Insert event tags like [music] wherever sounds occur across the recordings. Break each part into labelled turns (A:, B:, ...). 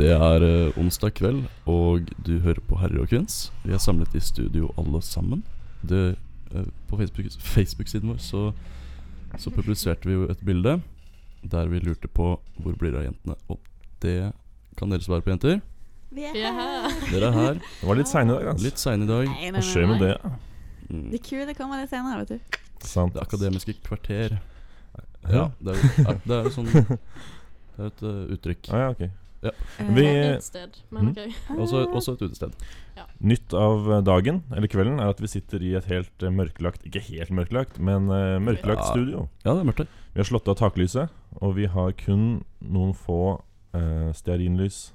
A: Det er eh, onsdag kveld, og du hører på Herre og Kvinns. Vi er samlet i studio alle sammen. Det, eh, på Facebook- Facebook-siden vår så, så publiserte vi jo et bilde der vi lurte på hvor blir det av jentene. Og det kan dere svare på, jenter.
B: Vi er
C: Vi er her.
A: Dere er her.
D: Det var litt seine i dag, altså.
A: Litt seine i dag.
B: [laughs] Nei, nei,
D: Hva skjer
B: nei,
D: med det?
A: Mm,
B: Det kule kommer litt senere, vet du.
D: Sant.
A: Det akademiske kvarter. Ja,
D: Ja.
A: det er jo er- det er jo sånn Det er et eh, uttrykk.
D: Ah, ja, ok.
C: Det
D: Vi-
C: er et sted, men
D: Mm.
C: ok.
B: Eh,
A: Også, også et utested.
D: Nytt av eh, dagen, eller kvelden, er at vi sitter i et helt eh, mørklagt Ikke helt mørklagt, men eh, mørklagt
A: Ja.
D: studio.
A: Ja, det er mørkt her.
D: Vi har slått av taklyset, og vi har kun noen få eh, stearinlys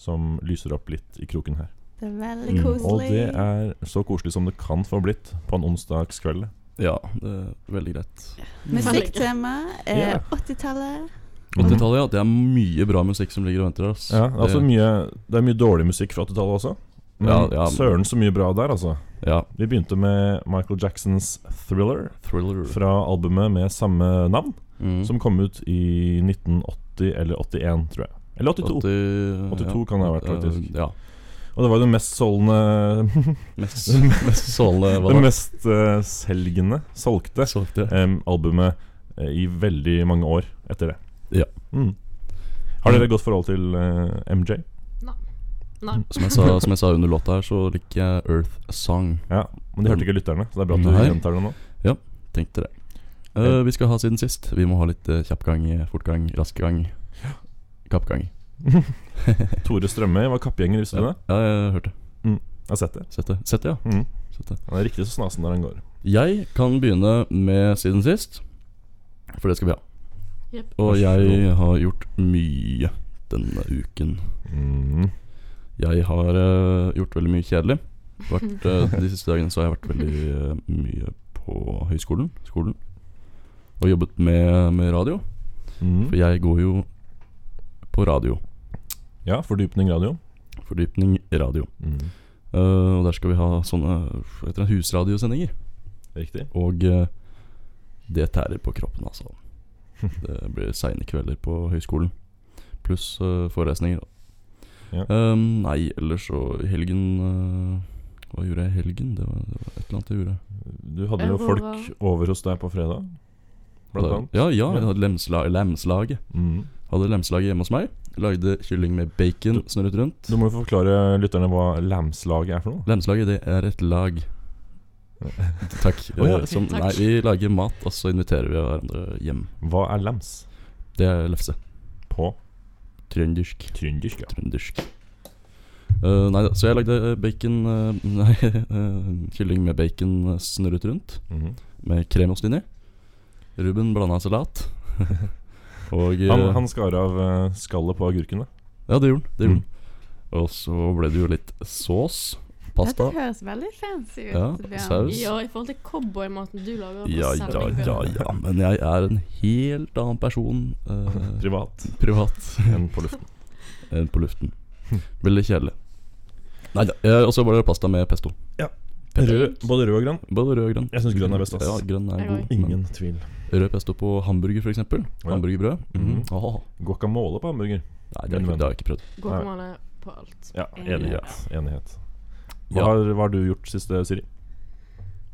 D: som lyser opp litt i kroken her.
B: Det er veldig
A: Mm.
B: koselig.
D: Og det er så koselig som det kan få blitt på en onsdagskveld.
A: Ja, det er veldig greit. Mm.
B: Musikktema, eh,
D: Ja.
B: 80-tallet.
A: 80-tallet, ja. Det er mye bra musikk som ligger og venter der. ass.
D: Mm. Ja, det, er altså
A: Det-
D: mye, det er mye dårlig musikk fra 80-tallet også. Men
A: Ja, ja.
D: søren så mye bra der, altså.
A: ja,
D: Vi begynte med Michael Jacksons 'Thriller'
A: thriller.
D: fra albumet med samme navn.
A: Mm.
D: Som kom ut i 1980 eller 81, tror jeg. Eller
A: 80,
D: 82. 82 kan det ha vært, faktisk.
A: Ja.
D: Og det var jo den mest
A: [laughs]
D: solgende
A: Mest,
D: [laughs]
A: mest sålende var
D: Det mest eh, selgende, solgte,
A: Solgte.
D: em, albumet eh, i veldig mange år etter det.
A: Ja. Mm.
D: Mm. Har dere et godt forhold til eh, MJ?
C: Nei.
A: Som jeg, sa, som jeg sa under låta her, så liker jeg Earth Song.
D: Ja, Men de hørte ikke lytterne, så det er bra at du
A: Mm. Nei.
D: gjentar det nå.
A: Tenk dere. Eh, vi skal ha siden sist. Vi må ha litt eh, kjapp gang, eh, fort gang, rask gang. Kappgang.
D: Tore Strømøy var kappgjenger, visste du
A: Ja,
D: det?
A: ja, jeg hørte.
D: Jeg har sett det.
A: Sett det. Sett det, ja.
D: Mm.
A: Sett det.
D: Han er riktig så snasen der han går.
A: Jeg kan begynne med siden sist, for det skal vi ha.
C: Jep.
A: Og
D: Vær så
A: jeg har gjort mye denne uken.
D: Mm.
A: Jeg har eh, gjort veldig mye kjedelig. Vært, eh,
D: [laughs]
A: de siste dagene så har jeg vært veldig eh, mye på høyskolen. Skolen. Og jobbet med, med radio. For
D: Mm.
A: jeg går jo på radio.
D: Ja, fordypning radio.
A: Fordypning radio.
D: Mm.
A: Eh, og der skal vi ha sånne hva heter det, husradiosendinger.
D: Riktig.
A: Og eh, det tærer på kroppen, altså.
D: [laughs]
A: Det blir seine kvelder på høyskolen. Pluss eh, forelesninger.
D: Ja.
A: Um, nei, ellers så i helgen eh, Hva gjorde jeg i helgen? Det var, det var et eller annet jeg gjorde.
D: Du hadde jo
C: Jeg var-
D: folk over hos deg på fredag, blant annet.
A: Ja, ja, jeg hadde lemsla lemslaget.
D: Mm.
A: Hadde lemslaget hjemme hos meg. Lagde kylling med bacon snurret rundt.
D: Du må jo forklare lytterne hva lamslaget er for noe.
A: Lemslaget, det er et lag. [laughs] Takk.
D: Å ja,
A: Eh, Som,
C: takk.
A: Nei, vi lager mat, og så inviterer vi hverandre hjem.
D: Hva er lams
A: Det er lefse.
D: på
A: Trøndersk.
D: trøndersk? Ja.
A: Trøndersk. Eh, nei da, så jeg lagde eh, bacon eh, [laughs] Nei, eh, kylling med bacon eh, snurret rundt.
D: Mhm.
A: Med kremost inni. Ruben blanda salat.
D: [laughs]
A: og eh,
D: han, han skar av eh, skallet på agurkene.
A: Ja, det gjorde han. Det
D: Mm.
A: gjorde han. Og så ble det jo litt saus. Pasta.
B: Dette høres veldig fancy ut.
A: Ja,
B: Bjørn.
A: saus.
C: Ja, i forhold til cowboymaten du lager på
A: Ja, ja,
C: Selby.
A: ja, ja. Men jeg er en helt annen person eh,
D: [laughs] Privat.
A: privat
D: Enn på [laughs] luften.
A: [laughs] enn på luften. Veldig kjedelig. Nei da. eh, Og så var det pasta med pesto.
D: Rød, både rød og grønn.
A: Både rød og grønn.
D: Jeg synes grønn er best, ass.
A: Ja, grønn er
C: Jeg
A: god.
C: òg.
A: men
D: Ingen tvil.
A: Rød pesto på hamburger, f.eks.
D: Ja.
A: Hamburgerbrød. Mhm.
D: Mhm.
A: Åh.
D: Guacamole på
A: Nei,
D: hamburger.
A: det har, jeg ikke, det har jeg ikke prøvd.
C: Guacamole på alt.
D: Ja, enighet. enighet. Hva,
A: Ja.
D: har, hva har du gjort siste,
B: [laughs]
D: Siri?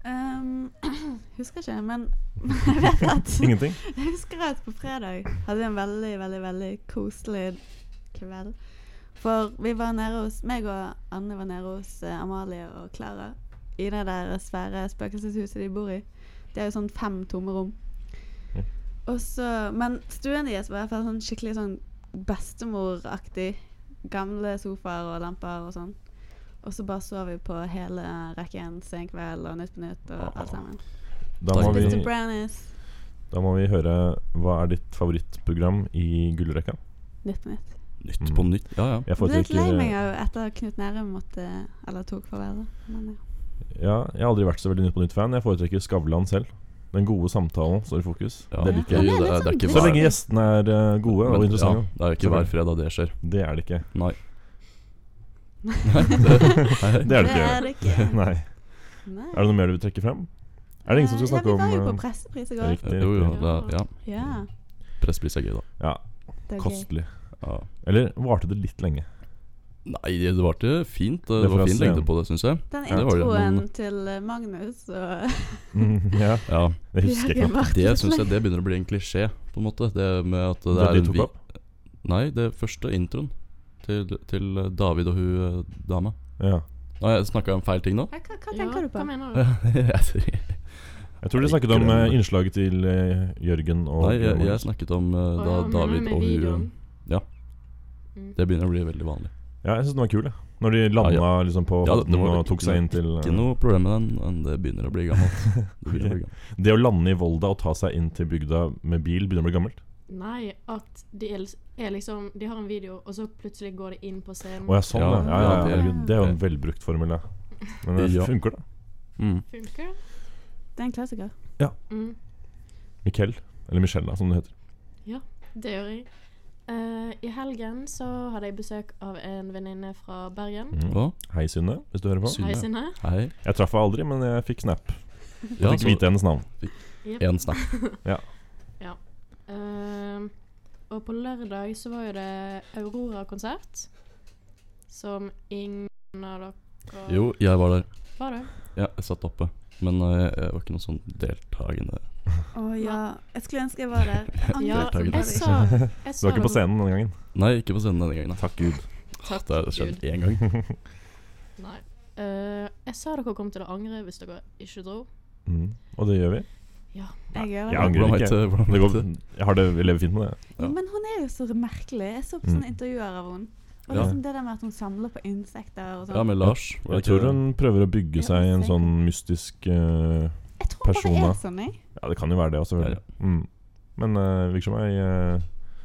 B: Um, [clears throat] husker ikke, men [laughs] jeg vet at
D: Ingenting?
B: [laughs] Jeg husker at på fredag hadde vi en veldig, veldig, veldig koselig kveld. For vi var nede hos Meg og Anne var nede hos eh, Amalie og Klara i det der svære spøkelseshuset de bor i. Det er jo sånn fem tomme rom.
D: Ja.
B: Og så Men stuen deres var i hvert fall sånn skikkelig sånn bestemoraktig. Gamle sofaer og lamper og sånn. Og så bare sov vi på hele rekken Senkveld og Nytt på Nytt og alt sammen.
D: Da må, vi,
B: Mr. Brownies,
D: da må vi høre Hva er ditt favorittprogram i gullrekka?
B: Nytt på Nytt.
A: Nytt
D: Mhm.
A: på nytt. Ja, ja.
D: Jeg
B: Jeg ble litt lei meg
D: foretrekker
B: av etter at Knut Nærum måtte Eller tok farvel. da. Men ja.
D: Ja, jeg har aldri vært så veldig Nytt på Nytt-fan. Jeg foretrekker Skavlan selv. Den gode samtalen står i fokus.
A: ja.
D: Det liker
B: Han
A: jo,
D: jeg.
B: er
A: det,
B: litt
A: er- det er
B: sånn
A: ikke
B: bra.
D: Så
A: hver,
D: lenge gjestene er eh, gode og
A: men, ja,
D: interessante. [laughs]
A: det er jo ikke hver fredag det skjer.
D: Det er det ikke.
A: Nei. Nei, det, hei, hei.
D: Det er det ikke.
B: ikke.
D: [laughs] Nei.
B: Nei.
D: Er det noe mer du vil trekke frem? Er det ingen som skal
B: Ja,
D: snakke om
B: Vi var jo på
D: eh,
B: pressepris i
D: det er
B: går.
D: riktig, riktig.
A: Jo, jo, det, er- ja.
B: Ja,
A: Presspris er gøy, da.
D: Ja,
B: det er gøy.
D: kostelig.
A: Ja.
D: Eller varte det
B: [laughs]
D: litt lenge?
A: Nei, det varte fint. Det,
D: Det
A: var
D: får jeg
A: fin
D: se.
A: lengde på det, syns jeg.
B: Den
A: Ja, det var det,
B: introen
A: men-
B: til eh, Magnus og
D: Mm, ja,
A: Ja,
D: det husker jeg
B: Jørgen
D: ikke.
B: Martinsen.
A: Det syns jeg det begynner å bli en klisjé, på en måte. Det med at det,
D: Det
A: er
D: de
A: en
D: tok
A: vi-
D: opp?
A: Nei, det første introen til, til eh, David og hun eh, dama.
D: Ja.
A: Nei, jeg snakka om feil ting nå?
B: Hva, hva tenker du på?
C: Hva
A: Eh,
C: mener du?
A: [laughs] jeg, sier-
D: Jeg tror de snakket om eh, innslaget til eh, Jørgen og
A: nei, jeg, jeg snakket om eh, da
C: Å, ja, mener du
A: David
C: med
A: og hun
C: videoen?
A: ja.
C: Mm.
A: Det begynner å bli veldig vanlig.
D: Ja, jeg syns den var kul, jeg. Når de landa
A: Ja,
D: liksom på
A: Ja, det-
D: båten
A: det var-
D: og tok seg inn til eh,
A: Ikke noe problem med den, men det begynner å bli
D: [laughs]
A: gammelt. Det begynner å bli gammelt.
D: Det å lande i Volda og ta seg inn til bygda med bil begynner å bli gammelt.
C: Nei, at de er, er liksom De har en video, og så plutselig går de inn på scenen.
D: Å ja, sånn, ja.
A: Ja,
D: ja, ja,
A: ja,
D: ja.
A: det-
D: Herregud, Det er jo en velbrukt formel, [laughs] ja. Men det
A: Ja.
D: funker, da.
A: Mm.
C: Funker det?
B: Det er en klassiker.
C: Mm.
D: Miquel. Eller Michelle, da, som det heter.
C: Det gjør jeg. Eh, I helgen så hadde jeg besøk av en venninne fra Bergen.
D: Mm.
A: Hva?
D: Hei, Synne, hvis du hører på.
A: Synne.
C: Hei, Synne.
A: Hei.
D: Jeg traff henne aldri, men jeg fikk snap. Jeg
A: Ja,
D: fikk vite hennes navn.
C: Jep.
A: en snap.
C: Ehm, og på lørdag så var jo det Aurora-konsert. Som ingen av dere
A: Jo, jeg var der.
C: Var det?
A: Ja, jeg satt oppe. Men eh, jeg var ikke noe sånn deltakende.
B: Å ja. Jeg skulle ønske jeg
D: [laughs]
B: var der. Jeg angrer
C: Ja,
B: på det.
C: jeg sa, jeg
D: Du
C: sa
D: var ikke på scenen denne gangen.
A: Nei, ikke på scenen denne gangen. da.
D: Takk Gud.
C: Takk,
A: Det har skjedd
C: Gud.
A: én gang.
C: Nei. Eh, jeg sa dere kom til å angre hvis dere ikke dro.
D: Mm. Og det gjør vi.
B: Jeg gjør
D: Jeg angrer
A: Hvordan
D: ikke.
A: vet du- hvordan
D: Det
A: vet
D: går,
A: du?
D: jeg har det, jeg lever fint med det.
B: Jo, men hun er jo så merkelig. Jeg så på sånne
D: Mm.
B: intervjuer av henne. Og
A: Ja.
B: liksom det der med at hun samler på insekter og sånn.
A: Ja, med Lars. var det
D: Jeg
A: ikke
D: tror
A: det?
D: hun prøver å bygge seg en sånn mystisk eh,
B: jeg tror hun bare
D: personer.
B: er sånn, jeg.
D: Ja, det kan jo være det også, selvfølgelig. Mm. Men uh, virker som ei eh,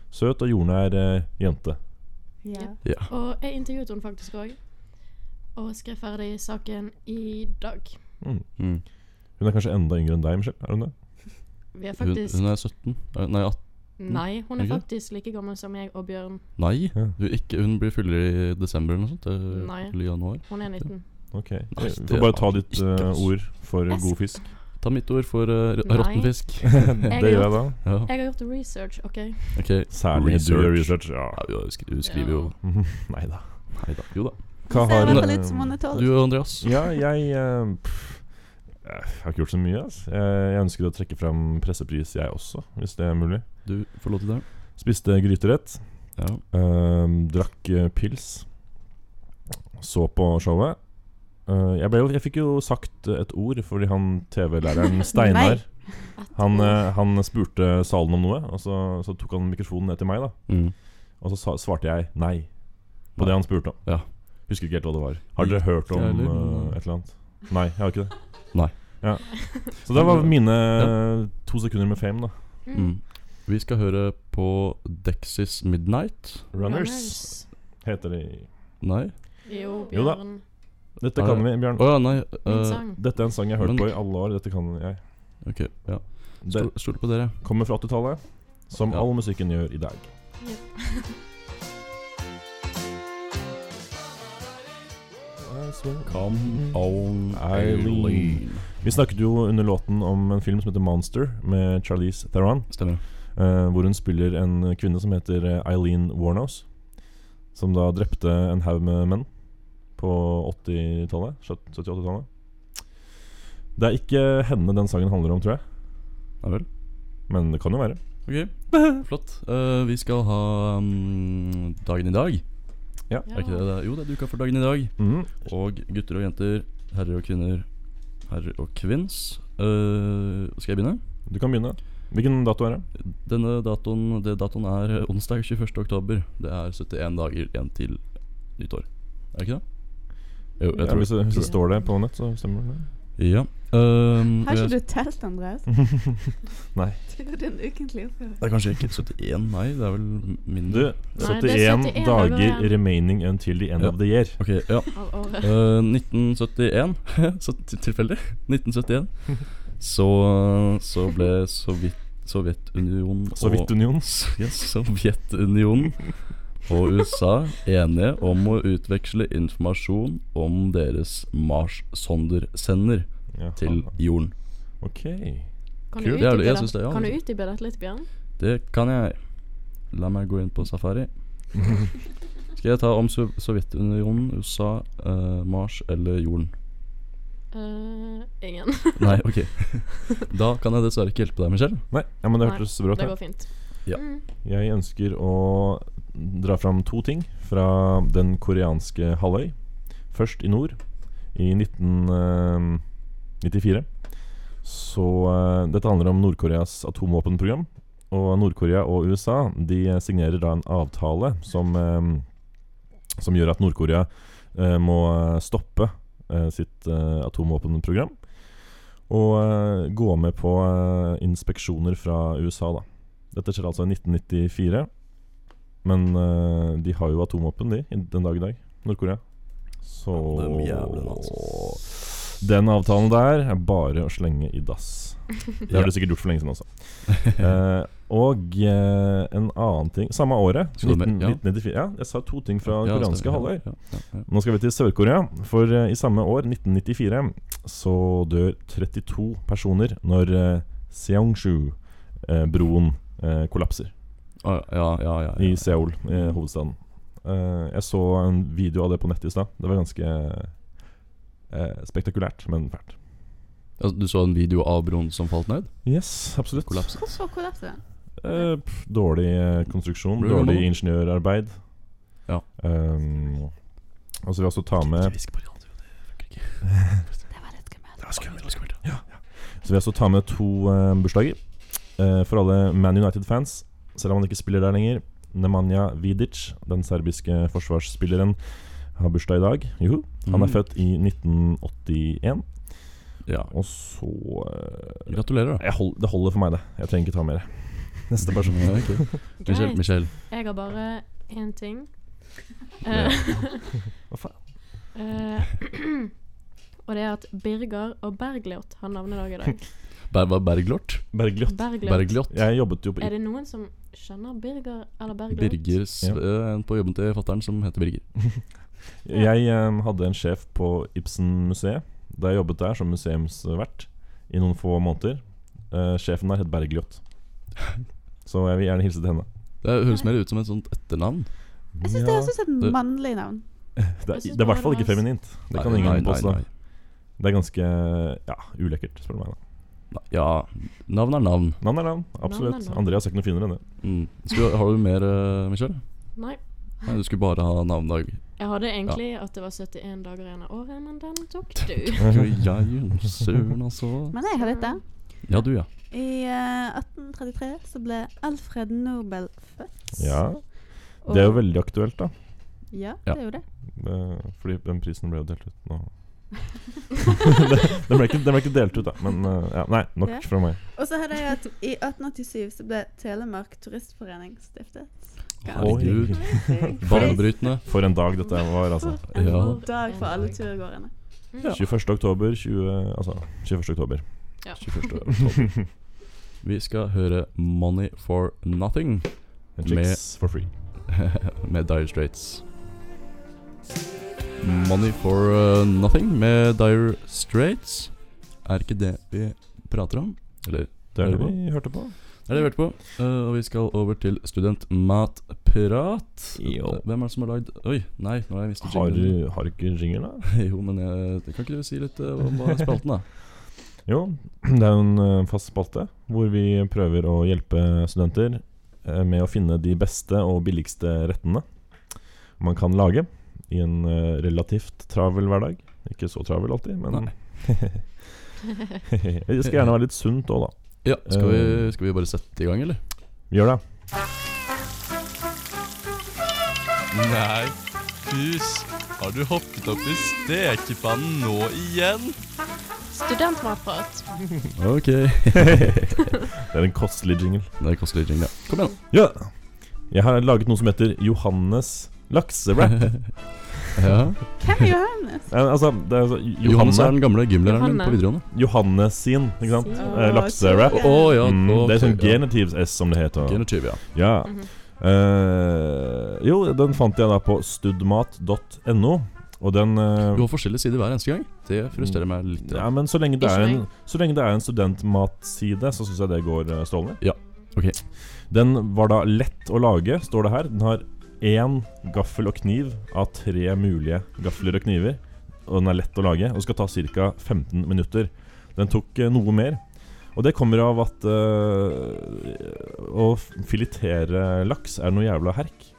D: søt og jordnær eh, jente.
B: Ja.
A: Ja.
C: Og jeg intervjuet henne faktisk òg. Og skrev ferdig saken i dag.
A: Mm.
D: Hun er kanskje enda yngre enn deg, Michelle? Er hun det?
C: Vi er
A: Hun,
C: faktisk
A: hun er 17. Eh, Nei, 18.
C: Nei, hun er
A: ikke?
C: faktisk like gammel som jeg og Bjørn.
A: Nei,
D: Ja.
A: du, ikke, hun blir fuller i desember eller noe sånt. eh,
C: Nei.
A: Eller januar.
C: Hun er 19.
D: Ok.
A: Nei,
D: Vi
A: det
D: får bare
A: er
D: ta
A: hun
D: ditt
A: ikke, altså.
D: eh,
A: ass.
D: ord for
C: Jeg s-
D: god fisk.
A: Ta mitt ord for uh,
C: Nei.
A: råttenfisk.
D: [laughs] det gjør jeg da.
A: ja,
C: Jeg har gjort research, OK?
A: ok.
D: Særlig du gjør research. Ja. [laughs]
A: Ja, vi har skri- hun skriver jo
D: Nei da.
A: Nei da. Jo da.
D: Hva
B: Hun ser i
A: har-
B: hvert fall ut som hun er
A: Du
B: tolv.
A: og Andreas.
D: Ja, jeg eh, pff, Jeg har ikke gjort så mye, ass. Jeg, jeg ønsker å trekke fram pressepris, jeg også, hvis det er mulig.
A: Du får lov til det.
D: Spiste gryterett.
A: Ja.
D: Ehm, drakk eh, pils. Så på showet. Eh, jeg, ble jo, jeg fikk jo sagt eh, et ord fordi han [laughs] TV-læreren Steinar han, eh, han spurte salen om noe, og så, så tok han mikrofonen ned til meg. da
A: Mm.
D: Og så sa, svarte jeg nei på det han spurte om.
A: Ja.
D: Husker ikke helt hva det var. Har dere hørt om
A: Ikke jeg heller,
D: eh,
A: men-
D: et eller annet? Nei, jeg har ikke det.
A: [laughs] Nei.
D: Ja. Så
A: [laughs]
D: det var mine eh, to sekunder med fame, da.
A: Mm. Vi skal høre på Dexys Midnight.
D: Runners, heter de.
A: Nei?
C: Jo,
D: Jo da.
C: Bjørn.
D: Dette
A: Er
D: kan
A: det-
D: vi, Bjørn.
A: Å ja, nei.
C: Min
A: eh,
C: sang.
D: Dette er en sang jeg har hørt
A: Men-
D: på i alle år. Dette kan jeg.
A: ok, ja.
D: Det
A: Stol- Stoler på dere.
D: kommer fra 80-tallet, som
A: Ja.
D: all musikken gjør i dag.
C: Jep.
D: I swear.
A: Come on,
D: Eileen. [laughs] Vi snakket jo under låten om en film som heter Monster, med Charlize Theron.
A: Stemmer.
D: eh, hvor hun spiller en kvinne som heter eh, Eileen Warnows. Som da drepte en haug med menn på 80-tallet. 70-80-tallet. Det er ikke henne den sangen handler om, tror jeg.
A: Ja vel.
D: Men det kan jo være.
A: Ok, [laughs] flott. Eh, vi skal ha mm, dagen i dag. Er ikke det det? Jo, det er duka for dagen i dag.
D: Mhm.
A: Og gutter og jenter, herrer og kvinner, herrer og kvinns. Eh, skal jeg begynne?
D: Du kan begynne. Hvilken dato er det?
A: Denne datoen, det datoen er eh, onsdag 21. oktober. Det er 71 dager igjen til nyttår. Er det ikke det? Jo, jeg
D: ja,
A: tror
D: hvis, det- hvis det
C: Ja.
D: står det på nett, så stemmer det.
A: Ja. ehm,
B: Har
A: jeg-
B: ikke du telt, Andreas?
D: Nei.
B: Du gjorde en ukentlig oppgave.
A: Det er kanskje ikke 71, nei. Det er vel mindre.
D: Du,
C: Nei, det er
D: 71
C: 71
D: dager
C: dager igjen.
D: remaining until the end
A: Ja.
D: of the year.
A: Ok, ja.
C: Av året.
A: Eh, 1971 [laughs] så til- Tilfeldig. [laughs] 1971. Så, så ble Sovjet, Sovjetunionen og-
D: Sovjetunionen.
A: Yes, Sovjetunionen og USA enige om å utveksle informasjon om deres Mars-sondersender
D: Jaha.
A: til jorden.
D: Ok.
C: Kan
A: Kult.
C: du
A: Det er det- jeg
C: utdype
A: synes det, ja.
C: Kan du utdype dette litt, Bjørn?
A: Det kan jeg. La meg gå inn på safari. Skal jeg ta om Sov- Sovjetunionen, USA, eh, Mars eller jorden?
C: Eh, ingen.
A: Nei, ok. Da kan jeg dessverre ikke hjelpe deg, Michelle.
D: Nei, ja, men det
C: Nei,
D: hørtes bra ut.
C: Det
D: ja.
C: går fint.
A: Ja.
C: Mm.
D: Jeg ønsker å dra fram to ting fra den koreanske halvøy. Først i nord, i eh, 1994. Så eh, dette handler om Nord-Koreas atomvåpenprogram. Og Nord-Korea og USA de signerer da en avtale som, eh, som gjør at Nord-Korea eh, må stoppe eh, sitt eh, atomvåpenprogram. Og eh, gå med på eh, inspeksjoner fra USA, da. Dette skjer altså i 1994. Men eh, de har jo atomvåpen, de, i- den dag i dag. Nord-Korea. Så
A: Dem jævlene, altså.
D: Den avtalen der er bare å slenge i dass. Det har
A: Ja.
D: du sikkert gjort for lenge siden også. Eh, og eh, en annen ting Samme året,
A: Skal du
D: 19,
A: med- ja.
D: 1994. Ja, jeg sa to ting fra den
A: Ja,
D: koreanske
A: stemmer.
D: halvøy.
A: Ja, ja, ja.
D: Nå skal vi til Sør-Korea, for eh, i samme år, 1994, så dør 32 personer når eh, Seongshu-broen eh, kollapser
A: Ah, ja, ja, ja, ja.
D: i Seoul, i hovedstaden. Eh, jeg så en video av det på nettet i stad. Det var ganske eh, spektakulært, men fælt.
A: Altså, du så en video av broen som falt ned?
D: Yes, absolutt.
A: Kollapset?
B: Hvorfor kollapset den?
D: Eh, pff, dårlig eh, konstruksjon,
A: Blir det
D: dårlig
A: gammel?
D: ingeniørarbeid.
A: Ja.
D: Um, og så vil jeg også ta med
A: hvisk på radio, det funker ikke.
B: Det var litt skummelt.
A: Det var skummelt. Det var skummelt.
D: Så vil jeg også ta med to eh, bursdager. Eh, for alle Man United-fans, selv om han ikke spiller der lenger, Nemanja Vidic, den serbiske forsvarsspilleren, har bursdag i dag. Juhu. Han
A: Mm.
D: er født i 1981.
A: Ja.
D: Og så eh,
A: Gratulerer, da.
D: jeg hold, Det sånn. holder for meg, det. Jeg trenger ikke ta mer. Neste person.
A: Ja, ok. Michelle,
C: Greit.
A: Michelle.
C: Jeg har bare én ting.
A: Ja.
C: Eh,
D: Hva faen?
C: [laughs] eh, og det er at Birger og Bergljot har navnedag i dag.
A: Ber var Berglort?
D: Bergljot.
C: Bergljot.
A: [laughs] Bergljot?
D: Jeg jobbet jo på
C: Er det noen som skjønner Birger eller Bergljot?
A: Birger s-
D: Ja.
A: eh, En på jobben til fattern som heter Birger.
D: Jeg eh, hadde en sjef på Ibsen-museet da jeg jobbet der som museumsvert i noen få måneder. Eh, sjefen der
A: [laughs]
D: het Bergljot. Så jeg vil gjerne hilse til henne.
A: Det høres mer ut som et sånt etternavn.
B: Jeg syns det høres ut som et
A: Det-
B: mannlig navn.
D: det,
C: Jeg
D: er,
C: synes
D: det er i
C: bare
D: hvert fall
C: det
D: ikke
C: var-
D: feminint. Det kan
A: Nei, nei,
D: ingen
A: nei,
D: påstå.
A: nei.
D: Det er ganske ja, ulekkert, spør du meg. da
A: Nei, Ja, navn er navn.
D: Navn er navn, absolutt.
C: Navn er navn.
D: Andreas er ikke noe finere enn det.
A: Mm. Skulle, har du mer, eh, Michelle?
C: Nei.
A: Nei, du skulle bare ha
D: [laughs]
A: navnedag.
C: Jeg hadde egentlig at det var 71 dager igjen av året, men den
A: [laughs]
C: tok du.
A: Jo, jeg, søren altså.
B: Men jeg har litt, da.
A: Ja, du, ja.
B: I eh, 1833 så ble Alfred Nobel født.
D: Ja,
B: Og-
D: Det er jo veldig aktuelt, da.
B: Ja,
A: Ja.
B: det er jo det.
D: Eh, Fordi den prisen ble jo delt ut nå. den, ble ikke, den ble ikke delt ut, da. Men eh, ja, nei, nok
B: Ja.
D: fra meg.
B: Og så hørte jeg at i 1887 så ble Telemark Turistforening [laughs] stiftet.
A: Herregud.
B: Bare
A: Banebrytende.
D: For en dag dette var, altså.
B: en
A: Ja.
B: dag for alle turgåerene.
D: 21. oktober 20, altså, 21. oktober.
A: 21.
D: [laughs]
A: oktober. Vi skal høre 'Money for Nothing' [laughs]
D: En
A: Med-
D: chicks for free.
A: med Dire Straits. 'Money for uh, Nothing' med Dire Straits. Er ikke det vi prater om? Eller
D: Det er det
A: Hører
D: vi hørte på.
A: er det vi hørte på? Eh, og vi skal over til studentmatprat.
D: Jo.
A: Hvem er det som har lagd Oi, nei, nå har jeg mistet
D: Har
A: jinglen.
D: du har du ikke jingle, da?
A: [laughs] Jo, men jeg, kan ikke du si litt eh, om hva
D: [laughs]
A: spalten er?
D: Jo, det er jo en eh, fast spalte hvor vi prøver å hjelpe studenter eh, med å finne de beste og billigste rettene man kan lage i en eh, relativt travel hverdag. Ikke så travel alltid, men [laughs] Det skal gjerne være litt sunt òg, da.
A: Ja, skal vi,
D: Eh.
A: skal vi bare sette i gang, eller?
D: Gjør det. [laughs]
E: Nei, pus. Har du hoppet opp i stekepannen nå igjen?
C: Studentmatprat.
A: Ok.
D: Det er en kostelig jingle.
A: Det koster litt jingle. ja. Kom igjen,
D: Ja. Jeg har laget noe som heter Johannes laksewrap.
A: [laughs] da. Ja.
B: Hvem er Johannes?
D: Eh, altså, det er altså
A: Johannes er
D: Johanne,
A: den gamle gymlæreren min
C: Johanne.
A: på videregående.
D: Johannes sin, ikke sant?
C: Sin.
D: Eh, laksewrap.
A: Å ja.
D: Mm,
A: nå-
D: det er sånn
A: ja.
D: genitives S, som det heter.
A: Genitiv, ja.
D: Ja.
C: Mhm.
D: Eh, jo, den fant jeg da på studmat.no, og den eh,
A: Du har forskjellige sider hver eneste gang. Det frustrerer meg litt.
D: Ja, men så lenge det
C: Ikke
D: er en,
C: meg.
D: så lenge det er en studentmatside, så syns jeg det går eh, strålende.
A: Ja, ok.
D: Den var da lett å lage, står det her. Den har én gaffel og kniv av tre mulige gafler og kniver. Og den er lett å lage og skal ta ca. 15 minutter. Den tok eh, noe mer. Og det kommer av at eh, å filetere laks er noe jævla herk.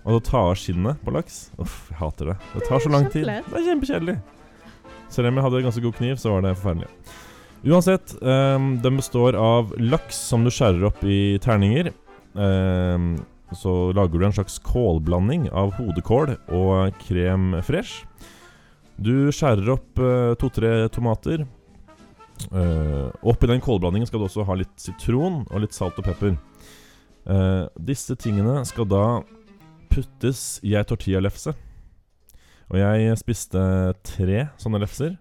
D: Og å ta av skinnet på laks Uff, jeg hater det. Det tar så lang tid.
C: kjempelett.
D: Det er kjempekjedelig. Selv om jeg hadde ganske god kniv, så var det forferdelig. Uansett, ehm, den består av laks som du skjærer opp i terninger. Ehm, så lager du en slags kålblanding av hodekål og krem fresh. Du skjærer opp eh, to-tre tomater. Eh, oppi den kålblandingen skal du også ha litt sitron og litt salt og pepper. Eh, disse tingene skal da puttes i ei tortillalefse. Og jeg spiste tre sånne lefser.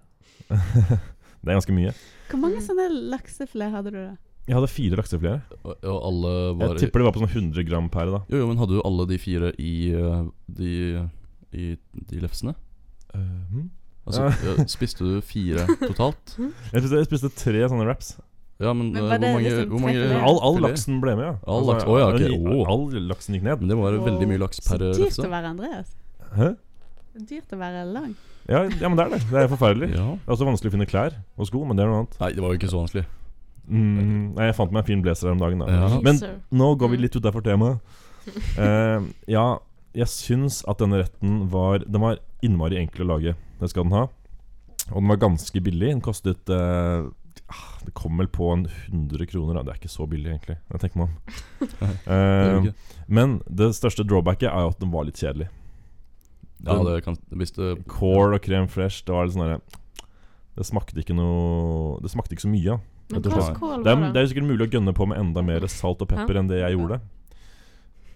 D: [laughs] det er ganske mye.
B: Hvor mange sånne laksefilé hadde du, da?
D: Jeg hadde fire laksefileter.
A: Og, og alle var
D: Jeg tipper det var på sånn 100 gram per. da
A: Jo, jo, men hadde du alle de fire i eh, de, i de lefsene? Eh, Altså, ja, spiste du fire totalt?
B: [laughs]
D: Jeg spiste, jeg spiste tre sånne wraps.
A: Ja, men,
B: Men
A: eh,
B: var
A: hvor
B: det
A: mange,
B: liksom
A: hvor mange
B: tre fileter?
D: All, all
A: filet?
D: laksen ble med, ja. Altså,
A: All laks- å ja, ok.
D: den-
A: Å.
D: all laksen gikk ned.
A: Men det var veldig mye
B: Wow.
A: laks per eh,
B: Dyrt å
A: lefse.
B: være Andreas.
D: altså? Hæ?
B: Dyrt å være lang.
D: Ja, ja, men det er det. Det er forferdelig.
A: Ja.
D: Det er også vanskelig å finne klær og sko, men det er noe annet.
A: Nei, det var jo ikke så vanskelig.
D: Mm, nei, jeg fant meg en fin blazer her om dagen, da.
A: Ja.
D: Men
C: Blazer.
D: nå går vi litt ut derfor temaet. Eh, ja, jeg syns at denne retten var Den var innmari enkel å lage. Det skal den ha. Og den var ganske billig. Den kostet eh, ah, Det kom vel på en 100 kroner. Da. Det er ikke så billig, egentlig. Jeg
A: [laughs]
D: tenker meg om.
A: Det er jo
D: Eh,
A: ikke.
D: Men det største drawbacket er jo at den var litt kjedelig.
A: Ja, det kan Hvis det
D: Core og krem fresh, det var litt sånn derre Det smakte ikke noe Det smakte ikke så mye. da.
C: Men
D: det
C: hva
A: var-
C: slags kål
D: Det
C: var
D: er,
C: Sånn
D: det
C: det? Mm.
D: er jo sikkert mulig å gønne på med enda mer salt og pepper enn det jeg gjorde.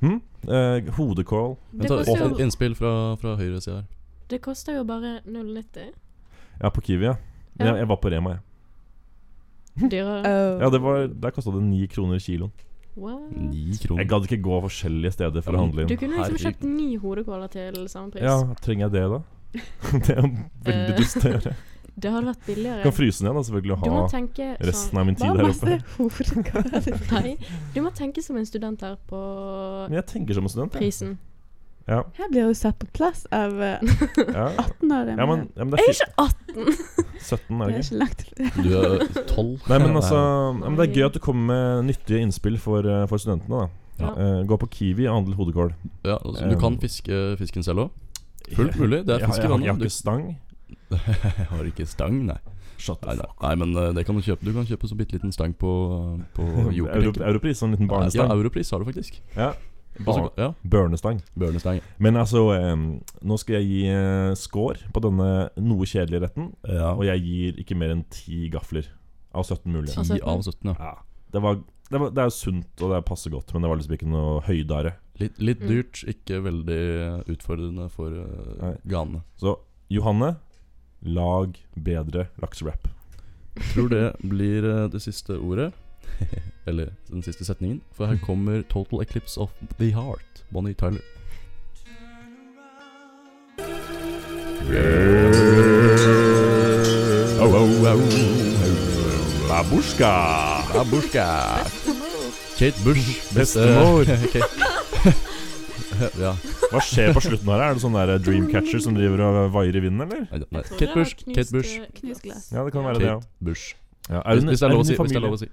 D: Hm? Eh, hodekål
A: Men
C: Det
A: ta
C: koster jo,
A: innspill fra, fra høyresida her.
C: det koster jo bare 0,90.
D: Ja, på Kiwi, ja. Men
C: Ja.
D: jeg, jeg var på Rema, jeg.
B: Eh,
C: Dyrere.
D: Ja, det var, der kosta det ni kroner kiloen.
C: What?
A: Ni
D: Jeg
A: kroner.
D: gadd ikke gå forskjellige steder for
A: Ja, men
D: å handle
C: Du
D: inn.
C: kunne liksom
A: Herregud.
C: kjøpt ni hodekåler til samme pris.
D: Ja, trenger jeg det, da? [laughs] det er jo veldig
C: Eh.
D: dust
C: [laughs]
D: å gjøre.
C: Det hadde vært
D: Jeg
C: billigere.
D: kan fryse ned, da, selvfølgelig,
C: Du må
D: og ha
C: tenke sånn
D: resten av min tid
B: Bare
D: der
B: masse
D: oppe. [laughs]
B: hodekål.
C: Nei, du må tenke som en student her på
D: Men jeg tenker som en student, jeg.
C: prisen.
D: Ja,
B: Her blir hun satt på plass av eh,
D: ja.
B: 18-åringen.
D: ja, men, ja, men det er
C: Ikke 18!
D: fi- 17, er
B: det
D: det
B: er
D: ikke?
B: ikke langt til
A: Du er tolv.
D: [laughs] Nei, men altså ja, men Det er gøy at du kommer med nyttige innspill for, eh, for studentene, da.
C: Ja.
D: Eh, gå på Kiwi og handle hodekål.
A: Ja, altså, du
D: Eh.
A: kan fiske fisken selv òg. Fullt mulig. Det er
D: Jeg, jeg, har- jeg
A: fiskevannet.
D: har
A: Du
D: ikke stang.
A: jeg har ikke stang, nei.
D: Shut
A: Nei, nei. nei men eh, det kan du kjøpe. Du kan kjøpe så bitte liten stang på, eh,
D: [laughs]
A: på
D: Euro,
A: jokerbenken.
D: Europris, sånn liten
A: Ja,
D: barnestang.
A: Europris har du faktisk.
D: Ja.
A: Og så- ja
D: Børnestang.
A: Bjørnestang.
D: Men altså, em, nå skal jeg gi eh, score på denne noe kjedelige retten.
A: Ja.
D: Og jeg gir ikke mer enn ti gafler av 17 mulige.
C: Altså,
A: 10 av 17, ja.
D: Ja, det, var, det, var, det er sunt, og det er passe godt, men det var liksom ikke noe høydere.
A: Litt, litt
C: Mm.
A: dyrt, ikke veldig utfordrende for uh,
D: Nei.
A: ganene.
D: Så Johanne, lag bedre laksewrap.
A: Tror det blir eh, det siste ordet.
D: [laughs]
A: Eller den siste setningen. For her kommer 'Total Eclipse of the Heart', Bonnie Tyler.
D: Babushka!
A: Babushka! Kate Bush. [laughs]
D: Bestemor.
A: Eh, Kate- ja.
D: Hva skjer på slutten her? Er det sånn der Dreamcatcher som driver og eh, vaier i vinden, eller?
A: Nei, nei.
C: Jeg tror
A: Kate Bush.
C: det var
A: Kate Bush.
C: knust, eh,
B: Knusglass.
D: Ja, det kan
C: [laughs]
D: være det, ja.
A: Kate Bush.
D: ja er
A: Hvis,
D: hun,
A: hvis det er
D: er
A: lov å
D: hun
A: si. Hvis
D: i
A: det er
D: familie?
A: lov å si.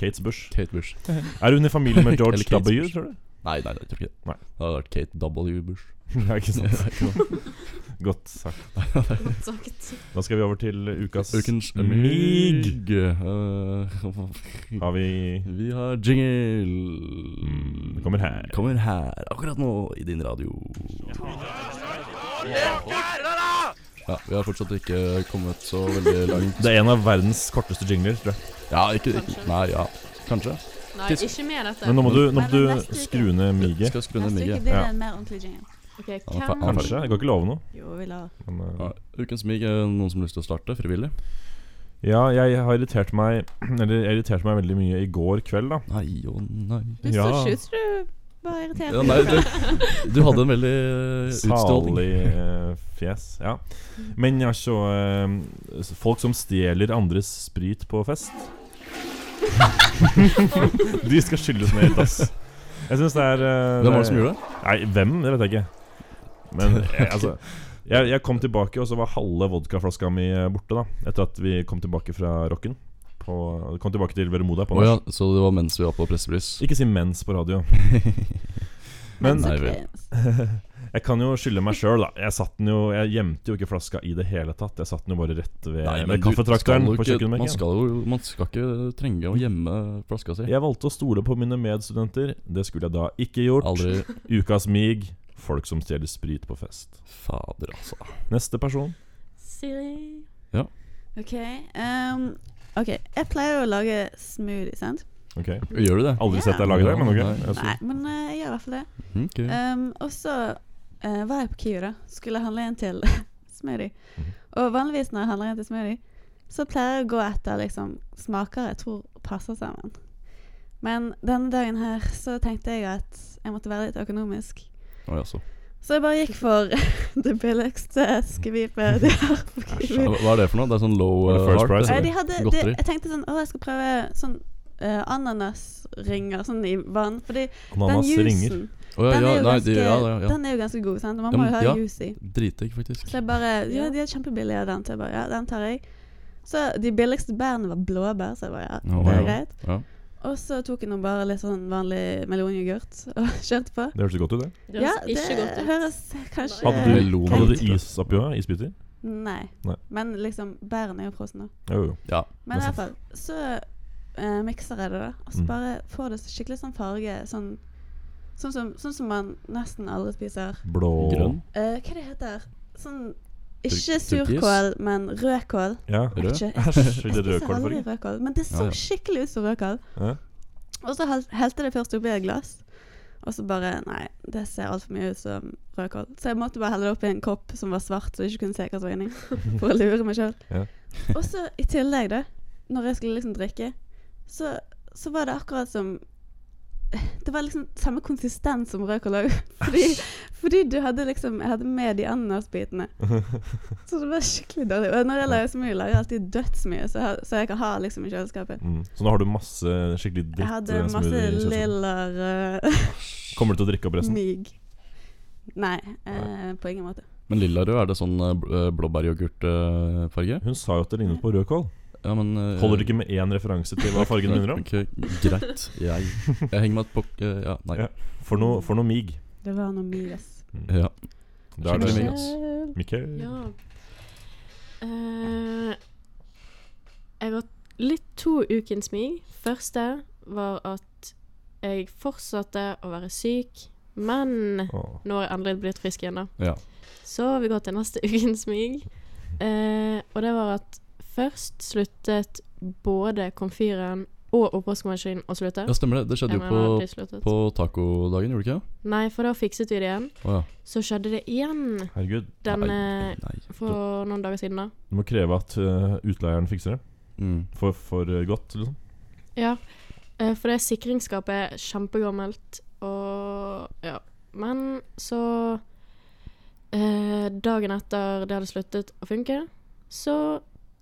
D: Kates Bush.
A: Kate Bush.
D: Er hun i familie
A: [laughs]
D: med George
A: Eller Kates
D: W,
A: Bush.
D: tror du?
A: Nei, nei, nei, jeg tror ikke det.
D: Nei.
A: Det hadde vært Kate W. Bush.
D: Ja, [laughs] ikke sant.
A: [laughs] Ukens
D: Godt sagt.
C: Godt sagt.
D: Da skal vi over til ukas mig.
A: mig. Eh,
D: Har vi
A: Vi har jingle.
D: Mm, kommer her.
A: Kommer her akkurat nå i din radio. Ja, Vi har fortsatt ikke kommet så veldig langt.
D: Det er en av verdens korteste jingler, tror jeg.
A: Ja, ikke, ikke Nei, ja. Kanskje.
C: Nei,
A: Tisk-
C: ikke med dette.
D: Men nå må du, nå
B: Men
D: må du
B: neste uke-
D: skru ned
A: Vi
D: miget.
A: skal skru ned
B: Neste uke
A: miget.
B: blir det
D: Ja.
B: en mer ordentlig jingle.
C: Ok,
A: Ja,
C: hvem
A: faen.
D: Kanskje. Jeg kan ikke love noe.
B: Jo, vi lar
D: Men, eh,
A: Ja, ukens mig er det noen som har lyst til å starte frivillig.
D: ja, jeg har irritert meg Eller jeg irriterte meg veldig mye i går kveld, da.
A: Nei og nei.
B: Du
D: Ja.
B: så ikke ut som du var irritert.
A: Ja, nei, du, du hadde en veldig utstråling.
D: Salig eh, fjes. Ja. Men altså eh, Folk som stjeler andres sprit på fest [laughs] De skal skyldes mer, ass. Jeg syns det er eh,
A: Hvem var det som gjorde det?
D: Nei, hvem? Det vet jeg ikke. Men jeg, altså jeg, jeg kom tilbake, og så var halve vodkaflaska mi eh, borte. da Etter at vi kom tilbake fra rocken. På, kom tilbake til Veremoda på
A: Å ja,
D: norsk.
A: så det var mens vi var på pressebryss.
D: Ikke si mens på
A: [laughs]
D: radio.
A: Nei,
D: Men
B: Så
A: vel.
B: kleint.
D: jeg kan jo skylde meg sjøl, da. Jeg satt den jo Jeg gjemte jo ikke flaska i det hele tatt. Jeg satt den jo bare rett ved, ved
A: du skal jo
D: kaffetrakteren på
A: ikke- Man
D: kjøkkenbenken.
A: skal jo man skal ikke trenge å gjemme flaska si.
D: Jeg valgte å stole på mine medstudenter. Det skulle jeg da ikke gjort.
A: Aldri
D: Ukas mig folk som stjeler sprit på fest.
A: Fader, altså.
D: Neste person.
C: Siri.
B: OK. ehm, ok, Jeg pleier å lage smoothie, sant?
D: Ok.
A: Gjør du det?
D: Aldri
B: Ja.
D: sett deg lage det, men ok.
A: Nei.
D: Jeg
B: Nei,
D: synes-
B: men eh, jeg gjør i hvert fall det.
A: Mhm,
D: Mm.
A: ok.
B: Ehm, og så eh, var jeg på Kiwi, da. Skulle handle en til [laughs] smoothie.
D: Mhm.
B: Og vanligvis når jeg handler en til smoothie, så pleier jeg å gå etter liksom, smaker jeg tror passer sammen. Men denne dagen her så tenkte jeg at jeg måtte være litt økonomisk.
A: Oi, altså.
B: Så jeg bare gikk for [laughs] det billigste skvipet de har på
A: Ja,
B: Kiwi.
A: hva- Hva er det for noe? Det er sånn low
D: Var det
A: uh,
D: first
A: heart?
D: price,
B: Nei,
A: eller?
B: de hadde, de,
A: Godteri.
B: jeg tenkte sånn Å, jeg skal prøve sånn eh, ananasringer sånn i vann. Fordi den
D: Ananas ringer.
B: juicen
A: Å, ja,
B: den, er
A: ja,
B: jo
A: nei,
B: ganske,
A: de, ja, ja, ja.
B: den er jo ganske god, sant? og man
A: Ja,
B: må
A: men-
B: jo ha
A: ja.
B: juice i.
A: Dritdigg, faktisk.
B: Så jeg bare Ja,
C: Ja.
B: de er kjempebillige, den. Så jeg bare Ja, den tar jeg. Så de billigste bærene var blåbær, så jeg bare Ja,
A: Ja,
B: det er
D: ja.
B: greit.
A: Ja.
B: Og så tok jeg nå bare litt sånn vanlig melonyoghurt [laughs] og kjørte på.
D: Det hørtes godt ut, det.
C: Det
B: Ja,
C: høres
B: det
C: ikke godt ut.
B: høres kanskje
D: Hadde
A: Eh,
D: du,
A: melon.
D: hadde du is oppi òg? Isbiter?
B: Nei.
D: Nei.
B: Men liksom, bærene er jo frosne nå.
D: Jo, jo.
A: Ja.
B: Men i
D: Det er
B: hvert fall, så eh, mikser jeg det, da. Og så
D: Mm.
B: bare får det så skikkelig sånn farge, sånn Sånn som, sånn som man nesten aldri spiser.
D: Blå
A: Grønn.
B: Eh, hva er det heter Sånn Ikke
A: Tur-
B: surkål, men rødkål.
D: Ja.
A: Rød?
B: Ikke-
D: Æsj,
B: Jeg
D: det er
B: spiser aldri
D: rødkålfarge.
B: rødkål, men det så
A: Ja, ja.
B: skikkelig ut som rødkål.
D: Ja.
B: Og så hel- helte det først oppi et glass, og så bare Nei, det ser altfor mye ut som rødkål. Så jeg måtte bare helle det oppi en kopp som var svart, så jeg ikke kunne se hva som var inni. For å lure meg sjøl.
D: Ja.
B: og så i tillegg, da, når jeg skulle liksom drikke, så, så var det akkurat som Det var liksom samme konsistens som rødkål òg. Fordi, fordi du hadde liksom Jeg hadde med de ananasbitene. Så det var skikkelig dårlig. Og når jeg lager smoothie, lager jeg alltid dødsmye, så, jeg- så jeg kan ha liksom i kjøleskapet.
D: Mm. Så nå har du masse skikkelig
B: Jeg
D: dritt
B: hadde
D: eh,
B: masse eh,
D: smoothie i kjøleskapet.
B: lilla
D: Kommer du til å drikke opp resten?
B: mig. Nei, eh, på ingen måte.
A: Men lillarød, er det sånn eh, bl- eh, blåbæryoghurtfarge?
D: Hun sa jo at det lignet på rødkål.
A: Ja, men eh,
D: Holder det ikke med én referanse til hva fargen minner om?
A: Ok, greit. Jeg, jeg henger meg på eh, Ja, nei.
D: Ja. For noe, for noe mig.
B: Det var noe mig, ass.
A: Ja.
D: Da er
A: Skikkelig mig,
D: det
A: ass.
D: Mikkel.
C: Ja. Eh, jeg har litt to ukens mig. Første var at jeg fortsatte å være syk, men
D: Åh.
C: nå har jeg endelig blitt frisk igjen, da.
A: Ja.
C: Så vi går til neste [laughs] ukens mig. Eh, og det var at først sluttet både komfyren og oppvaskmaskinen å slutte.
A: ja, stemmer det. Det skjedde
C: Jeg
A: jo
C: mener,
A: på,
C: de sluttet.
A: på tacodagen, gjorde det ikke?
C: Nei, for da fikset vi det igjen.
A: Å ja.
C: Så skjedde det igjen
D: Herregud.
C: den,
A: nei,
C: eh,
A: nei.
C: for noen dager siden, da.
D: Du må kreve at eh, utleieren fikser det.
A: Mm.
D: For, for eh, godt, liksom.
C: Ja, eh, for det sikringsskapet er kjempegammelt, og ja. Men så eh, Dagen etter det hadde sluttet å funke, så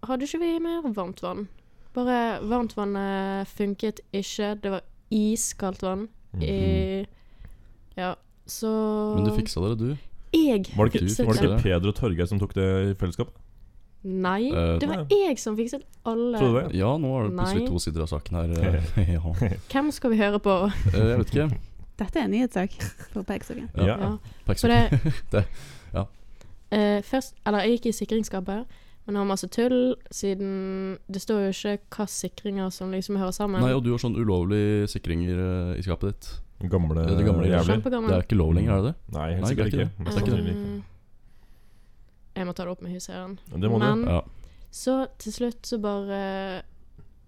C: hadde ikke vi mer varmt vann. Bare varmtvannet funket ikke. Det var iskaldt vann i Ja, så
A: Men du fiksa dere, du.
C: Jeg
D: Var det
A: Du
D: ikke, var det
A: fikser det.
D: ikke Peder og Torgeir som tok det i fellesskap?
C: Nei,
A: Eh,
C: det var jeg som fikset alle.
D: Tror du det?
A: Ja, nå er det plutselig
C: Nei.
A: to sider av saken
D: [laughs]
A: her. eh, [laughs] ja.
C: Hvem skal vi høre på?
A: Eh, Jeg vet ikke.
B: Dette er en nyhetssak for Peksogen.
A: Ja.
D: Ja.
C: Ja.
A: Pax-
C: For det
A: [laughs] Det- ja.
C: Eh, først, eller jeg gikk i sikringsskapet, men det var masse tull, siden det står jo ikke hva sikringer som liksom hører sammen.
A: Nei, og du har sånn ulovlige sikringer eh, i skapet ditt.
D: Gamle, eh,
A: Det er det gamle
D: jævler?
A: Det er
C: Kjempegammel.
A: ikke lov lenger, er det det?
D: Nei, helt
A: Nei, det er
D: sikkert
A: ikke
D: ikke.
A: det.
D: Mest sannsynlig ikke.
C: Eh, jeg må ta det opp med huseieren.
D: Det må du.
C: Men
A: Ja.
C: så til slutt så bare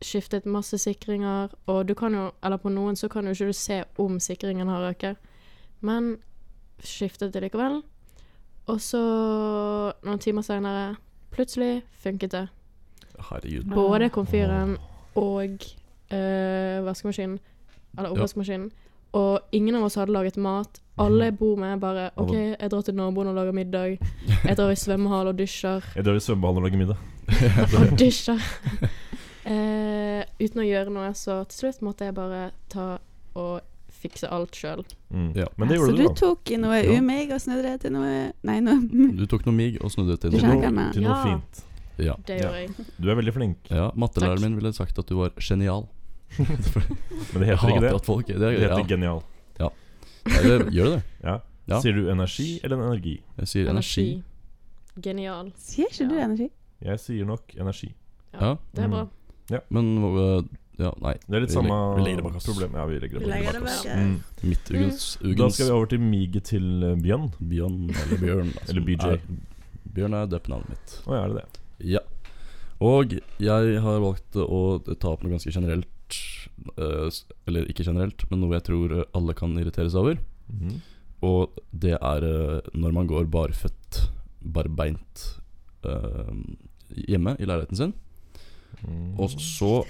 C: skiftet masse sikringer, og du kan jo, eller på noen så kan jo ikke du se om sikringen har røket, men skiftet det likevel. Og så noen timer senere, plutselig funket det.
A: Herregud.
C: Både komfyren og eh, vaskemaskinen, eller oppvaskmaskinen, og ingen av oss hadde laget mat. Alle
D: Mhm.
C: jeg bor med, bare OK, jeg drar til naboen og lager middag. Jeg
D: [laughs]
C: drar i svømmehall og dusjer.
D: Jeg drar i svømmehallen og lager middag.
C: [laughs] Og dusjer. Eh, uten å gjøre noe, så til slutt måtte jeg bare ta og fikse alt sjøl.
D: Mm.
A: Ja.
D: Men det
B: så
D: gjorde
B: du
D: du, da.
B: tok i noe
A: Ja.
B: umig og snudde det til noe Nei, noe
A: Du tok noe mig og snudde det til
D: Til
A: noe.
B: Skjønner. Skjønner.
D: noe, til noe
C: Ja.
D: fint.
A: Ja.
C: Det
D: Ja.
C: gjorde jeg.
D: Du er veldig flink,
A: ja Mattelæreren
C: Takk.
A: min ville sagt at du var genial.
D: men det
A: Jeg
D: heter ikke
A: hater
D: det.
A: at folk det,
D: Det
A: ja.
D: heter genial.
A: Nei, det- Gjør det det?
D: Ja.
A: Ja.
D: Sier du energi eller energi?
A: [laughs] Jeg sier energi.
C: Energi. Genial.
B: Sier ikke du
C: Ja.
B: energi?
D: Jeg sier nok energi.
A: Ja,
C: Det er bra.
A: men øh, Ja, nei.
D: Det er litt
A: Vi
D: samme
A: legger- vi legger det bak oss.
D: problem. Ja, vi legger
B: Vi
D: det bak
B: legger det
A: bak oss.
B: bak her.
D: Mm.
A: Mitt ugens,
D: Da
A: ugens
D: skal vi over til miget til eh, Bjørn.
A: Bjørn, eller Bjørn da,
D: [laughs] Eller
A: som
D: BJ.
A: Er, Bjørn er døpenavnet mitt.
D: Å, ja, er det det?
A: Ja. Og jeg har valgt å ta opp noe ganske generelt eh, s- Eller ikke generelt, men noe jeg tror eh, alle kan irritere seg over.
D: Mhm.
A: Og det er eh, når man går barføtt, barbeint, eh, hjemme i leiligheten sin,
D: Mhm.
A: og så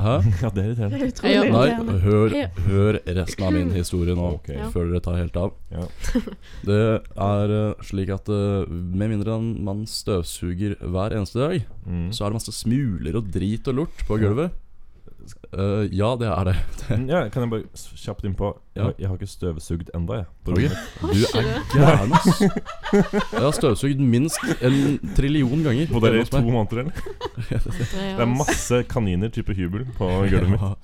A: Hæ?
D: [laughs] Ja, det er irriterende.
B: Det er utrolig
C: Ja.
A: Nei,
B: irriterende.
A: hør,
C: Ja.
A: hør resten av min historie nå,
D: Ok.
C: Ja.
A: før dere tar helt av.
D: Ja.
A: Det er eh, slik at eh, med mindre en man støvsuger hver eneste dag,
D: Mhm.
A: så er det masse smuler og drit og lort på gulvet. Eh, ja, det er det.
D: Mm, Ja, kan jeg bare s- kjapt innpå? Jeg,
A: Ja.
D: jeg har ikke støvsugd enda, jeg. På
A: Ok.
D: rommet.
A: Du er gæren, ass. Jeg har støvsugd minst en trillion ganger. [laughs]
D: På dere i
A: hjemme hos
D: to
A: meg.
D: måneder, eller? Det er masse kaniner type hubel
A: [laughs]
D: på gulvet mitt.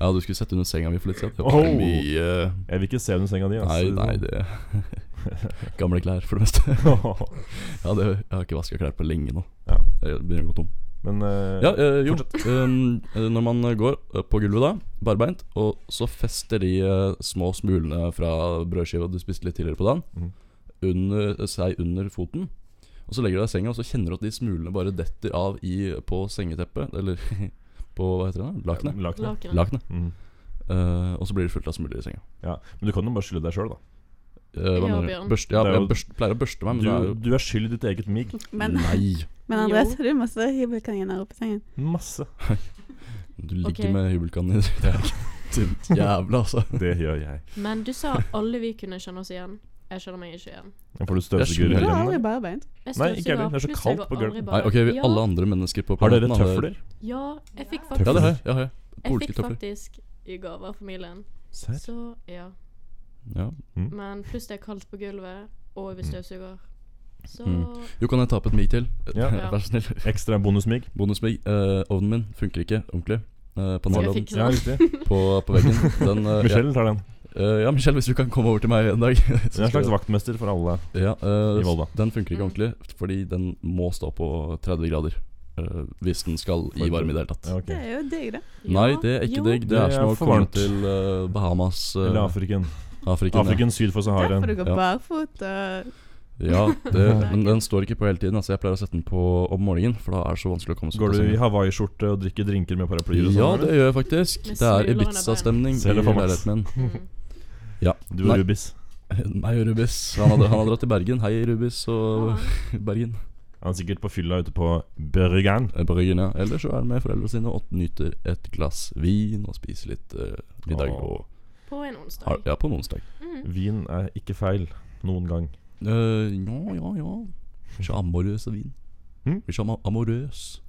A: Ja, du skulle sett under senga mi for litt siden. Det
D: Oh.
A: var mye
D: Jeg vil ikke se under senga di. altså.
A: Nei, nei,
D: [laughs]
A: det Gamle klær, for det [laughs] meste. Ja, det, jeg har ikke vaska klær på lenge nå.
D: Ja.
A: Jeg begynner å gå tom.
D: Men eh,
A: Ja, eh, jo. Um, eh, når man går eh, på gulvet da, barbeint, og så fester de eh, små smulene fra brødskiva du spiste litt tidligere på dagen,
D: Mhm.
A: under, eh, seg under foten. Og så legger du deg i senga, og så kjenner du at de smulene bare detter av i, på sengeteppet. Eller [laughs] på hva heter det? da? Lakenet.
D: Lakenet.
C: Lakenet.
A: Lakenet.
D: Mhm.
A: Eh, og så blir det fullt av smuler i senga.
D: Ja. Men du kan jo bare skylde deg sjøl, da.
A: Eh, hva
C: Ja,
A: mener
C: Bjørn.
A: du? Børste, ja,
D: Det er
A: jeg
D: jo-
A: børst, pleier å børste meg, men det er
D: Du,
A: jo
D: du er skyld i ditt eget mig.
B: Men,
A: Nei!
B: men Andres, har du masse hybelkanger oppe i sengen?
D: Masse.
A: Du ligger
C: Ok.
A: med hybelkanen i [laughs] Det er tynt jævla, altså.
D: Det gjør jeg.
C: Men du sa alle vi kunne kjenne oss igjen. Jeg kjenner meg ikke igjen.
D: For du
A: Jeg
D: støvsuger
A: skjønner.
B: Du
D: hele
B: har
D: hjemmet?
B: aldri barbeint.
C: Jeg
D: Nei, ikke heller. Det er så
C: støvsuger,
D: kaldt
C: pluss jeg
D: på
C: går aldri
D: gulvet.
A: Nei,
C: bare-
A: ok, vi,
C: Ja,
A: alle andre mennesker på
D: Har dere
A: planeten hadde-
D: tøfler?
C: Ja, jeg fikk
A: Ja,
C: faktisk,
A: det har jeg. Ja, jeg.
C: jeg fikk
A: Polske tøfler.
C: faktisk i gave av familien.
D: Serr?
C: Så ja.
A: Ja.
C: Men pluss det er kaldt på gulvet, og vi støvsuger. Så
A: Mm. Jo, kan jeg ta opp et mig til?
D: Ja.
A: [laughs] Vær så snill.
D: Ekstra bonusmig.
A: Bonusmig. Eh, ovnen min funker ikke ordentlig. Eh,
C: Skal jeg
A: Panelovn
C: fikse
D: Ja,
C: det?
D: riktig.
A: på, på
C: [laughs]
A: veggen. Den, eh,
D: [laughs] Michelle tar den.
A: Ja. Eh, ja, Michelle, hvis du kan komme over til meg en dag.
D: Hun er en slags vaktmester for alle.
A: ja, eh,
D: i Volda.
A: Den funker ikke
C: Mm.
A: ordentlig, fordi den må stå på 30 grader. eh, hvis den skal i varme i det hele tatt.
D: Ja, ok.
B: Det er jo digg, da.
A: Nei, det er ikke
C: jo.
A: digg. Det
D: Det
A: er som
D: er
A: å
D: for
A: komme
D: varmt.
A: til eh, Bahamas eh,
D: Eller Afriken.
A: Afriken. ja.
D: Afriken syd for
B: Der
D: Saharaen.
B: får du gå
A: Ja.
B: barfot og
A: Ja, det, men den står ikke på hele tiden. Altså, jeg pleier å sette den på om morgenen, for da er det så vanskelig å komme seg
D: Går
A: ut av
D: du i
A: sengen.
D: hawaiiskjorte og drikker drinker med paraplyer og sånn?
A: Ja,
D: eller?
A: det gjør jeg faktisk.
C: Med
A: Det er
C: smuler under
A: Ibiza-stemning i
D: Ser det for meg.
A: leiligheten min.
C: Mm.
A: Ja.
D: Du
A: Nei.
D: og Rubis.
A: [laughs] Nei, Rubis. Han hadde, han hadde dratt til Bergen. Hei, Rubis og [laughs] Bergen.
D: Han er sikkert på fylla ute på Børgeren.
A: Eh, Bergen, ja. Eller så er han med foreldrene sine og nyter et glass vin og spiser litt eh, middag
D: Åh.
A: og,
C: På en onsdag.
A: har- ja, på en onsdag.
C: Mm.
D: Vin er ikke feil noen gang.
A: Eh, ja, ja, ja. Ikke amorøs av vin.
D: Hm?
A: Ikke am amorøs.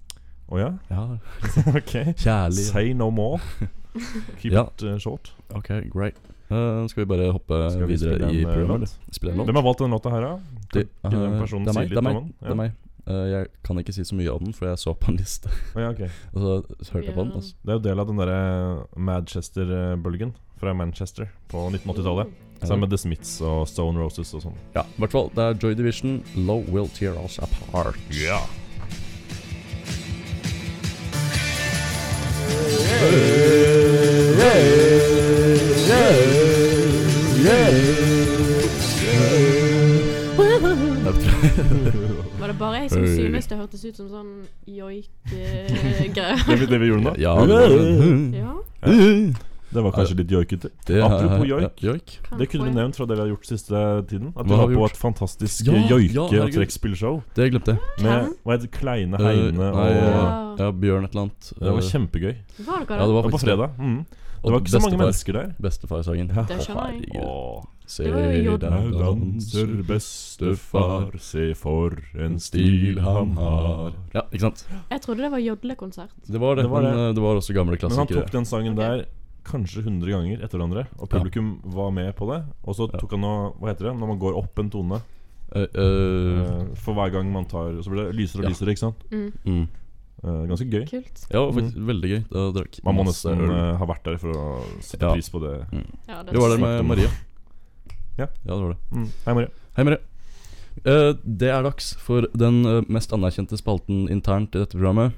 D: Å ja?
A: Ja,
D: [laughs] ok.
A: kjærlig.
D: Say no [laughs] more. Keep
A: Ja.
D: it uh, short.
A: Ok, great. Eh, skal vi bare hoppe
D: Skal vi
A: videre
D: spille en,
A: i
D: eh,
A: programmet?
D: låt?
A: eller? Spille en låt?
D: Hvem har valgt denne låta her, da?
A: Det,
D: Kan
A: eh,
D: den personen
A: det er
D: si
A: meg.
D: litt
A: Det er
D: om
A: meg.
D: den?
A: Det er meg. Eh, jeg kan ikke si så mye om den, for jeg så på en liste. [laughs]
D: Å ja, ok.
A: Og så hørte jeg på den. Og så,
D: Det er jo del av den derre Manchester-bølgen fra Manchester på 1980-tallet.
A: Mm.
D: Sammen med The Smiths og Stone Roses og sånn.
A: ja, i hvert fall. Det er Joy Division, 'Low Will Tear Us Apart'. [laughs]
D: Ja.
C: Var det bare jeg som
A: Hey.
C: synes det hørtes ut som sånn joik-greie?
D: Det, vi- det vi gjorde nå?
A: Ja, det var den.
C: ja,
D: [laughs] Det var kanskje litt joikete.
A: Det er-
D: Apropos joik.
A: Ja, joik.
C: kanskje.
D: Det kunne vi nevnt fra det vi har gjort siste tiden. At
A: Hva
D: vi
A: har
D: har
A: vi
D: på
A: gjort?
D: et fantastisk
A: Ja, ja,
D: joike- og
A: herregud.
D: trekkspillshow.
A: Det glemte jeg.
D: Med hva heter det, Kleine
A: Eh,
D: Heine
A: nei,
D: og
A: ja, Bjørn et eller annet.
D: Det var
A: Eh,
D: kjempegøy.
C: Var
A: ja, det
C: dere det?
A: var
D: Det var på
A: faktisk
D: fredag. Mm. Det var ikke så mange
A: bestefar.
D: mennesker der.
A: Bestefarsangen.
C: Det skjønner jeg.
A: Herregud. Se
C: Det var jo Jodel.
A: der danser
D: danser bestefar, se for en stil han har.
A: Ja, ikke sant?
C: Jeg trodde det var jodlekonsert.
A: Det var det,
D: Det var
A: men
D: det.
A: eh, det var også gamle
D: Men han
A: klassikere.
D: tok den sangen
C: Ok.
D: der kanskje 100 ganger etter hverandre, og
A: Ja.
D: publikum var med på det. Og så
A: Ja.
D: tok han og Hva heter det? Når man går opp en tone.
A: Eh, eh,
D: eh, For hver gang man tar Så blir det lysere og
A: Ja.
D: lysere, ikke sant?
C: Mm.
A: mm.
D: Eh, Ganske gøy.
C: Kult.
A: Ja, det var faktisk veldig gøy. Da drakk
D: Mm. Man må
A: masse
D: nesten
A: øl.
D: eh, ha vært der for å sette
A: Ja.
D: pris på det.
C: Ja,
A: Det var det med
D: Snakket om-
A: Maria.
D: Ja.
A: ja, det var det.
D: Mm. Hei, Maria. [laughs]
A: Hei, Maria. Eh, det er dags for den eh, mest anerkjente spalten internt i dette programmet.